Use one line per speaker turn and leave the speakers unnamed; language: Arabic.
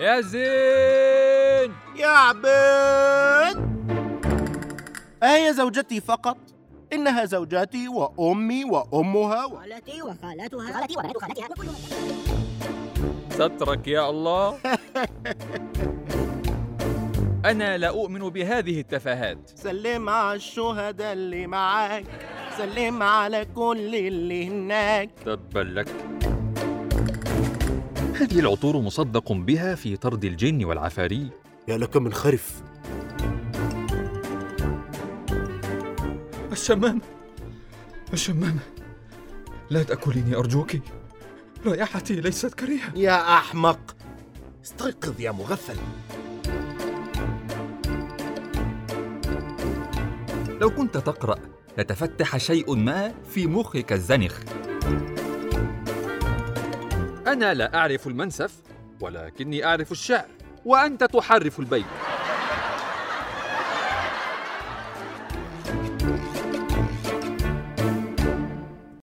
يا زين
يا عبيد أهي أه زوجتي فقط؟ إنها زوجاتي وأمي وأمها و...
خالتي وخالتها خالتي وبنات خالتها وكل من
سترك يا الله أنا لا أؤمن بهذه التفاهات
سلم على الشهداء اللي معاك سلم على كل اللي هناك
تبا لك هذه العطور مصدق بها في طرد الجن والعفاري
يا لك من خرف
الشمامة الشمامة لا تأكليني أرجوك رائحتي ليست كريهة
يا أحمق استيقظ يا مغفل
لو كنت تقرأ لتفتح شيء ما في مخك الزنخ
أنا لا أعرف المنسف ولكني أعرف الشعر وأنت تحرف البيت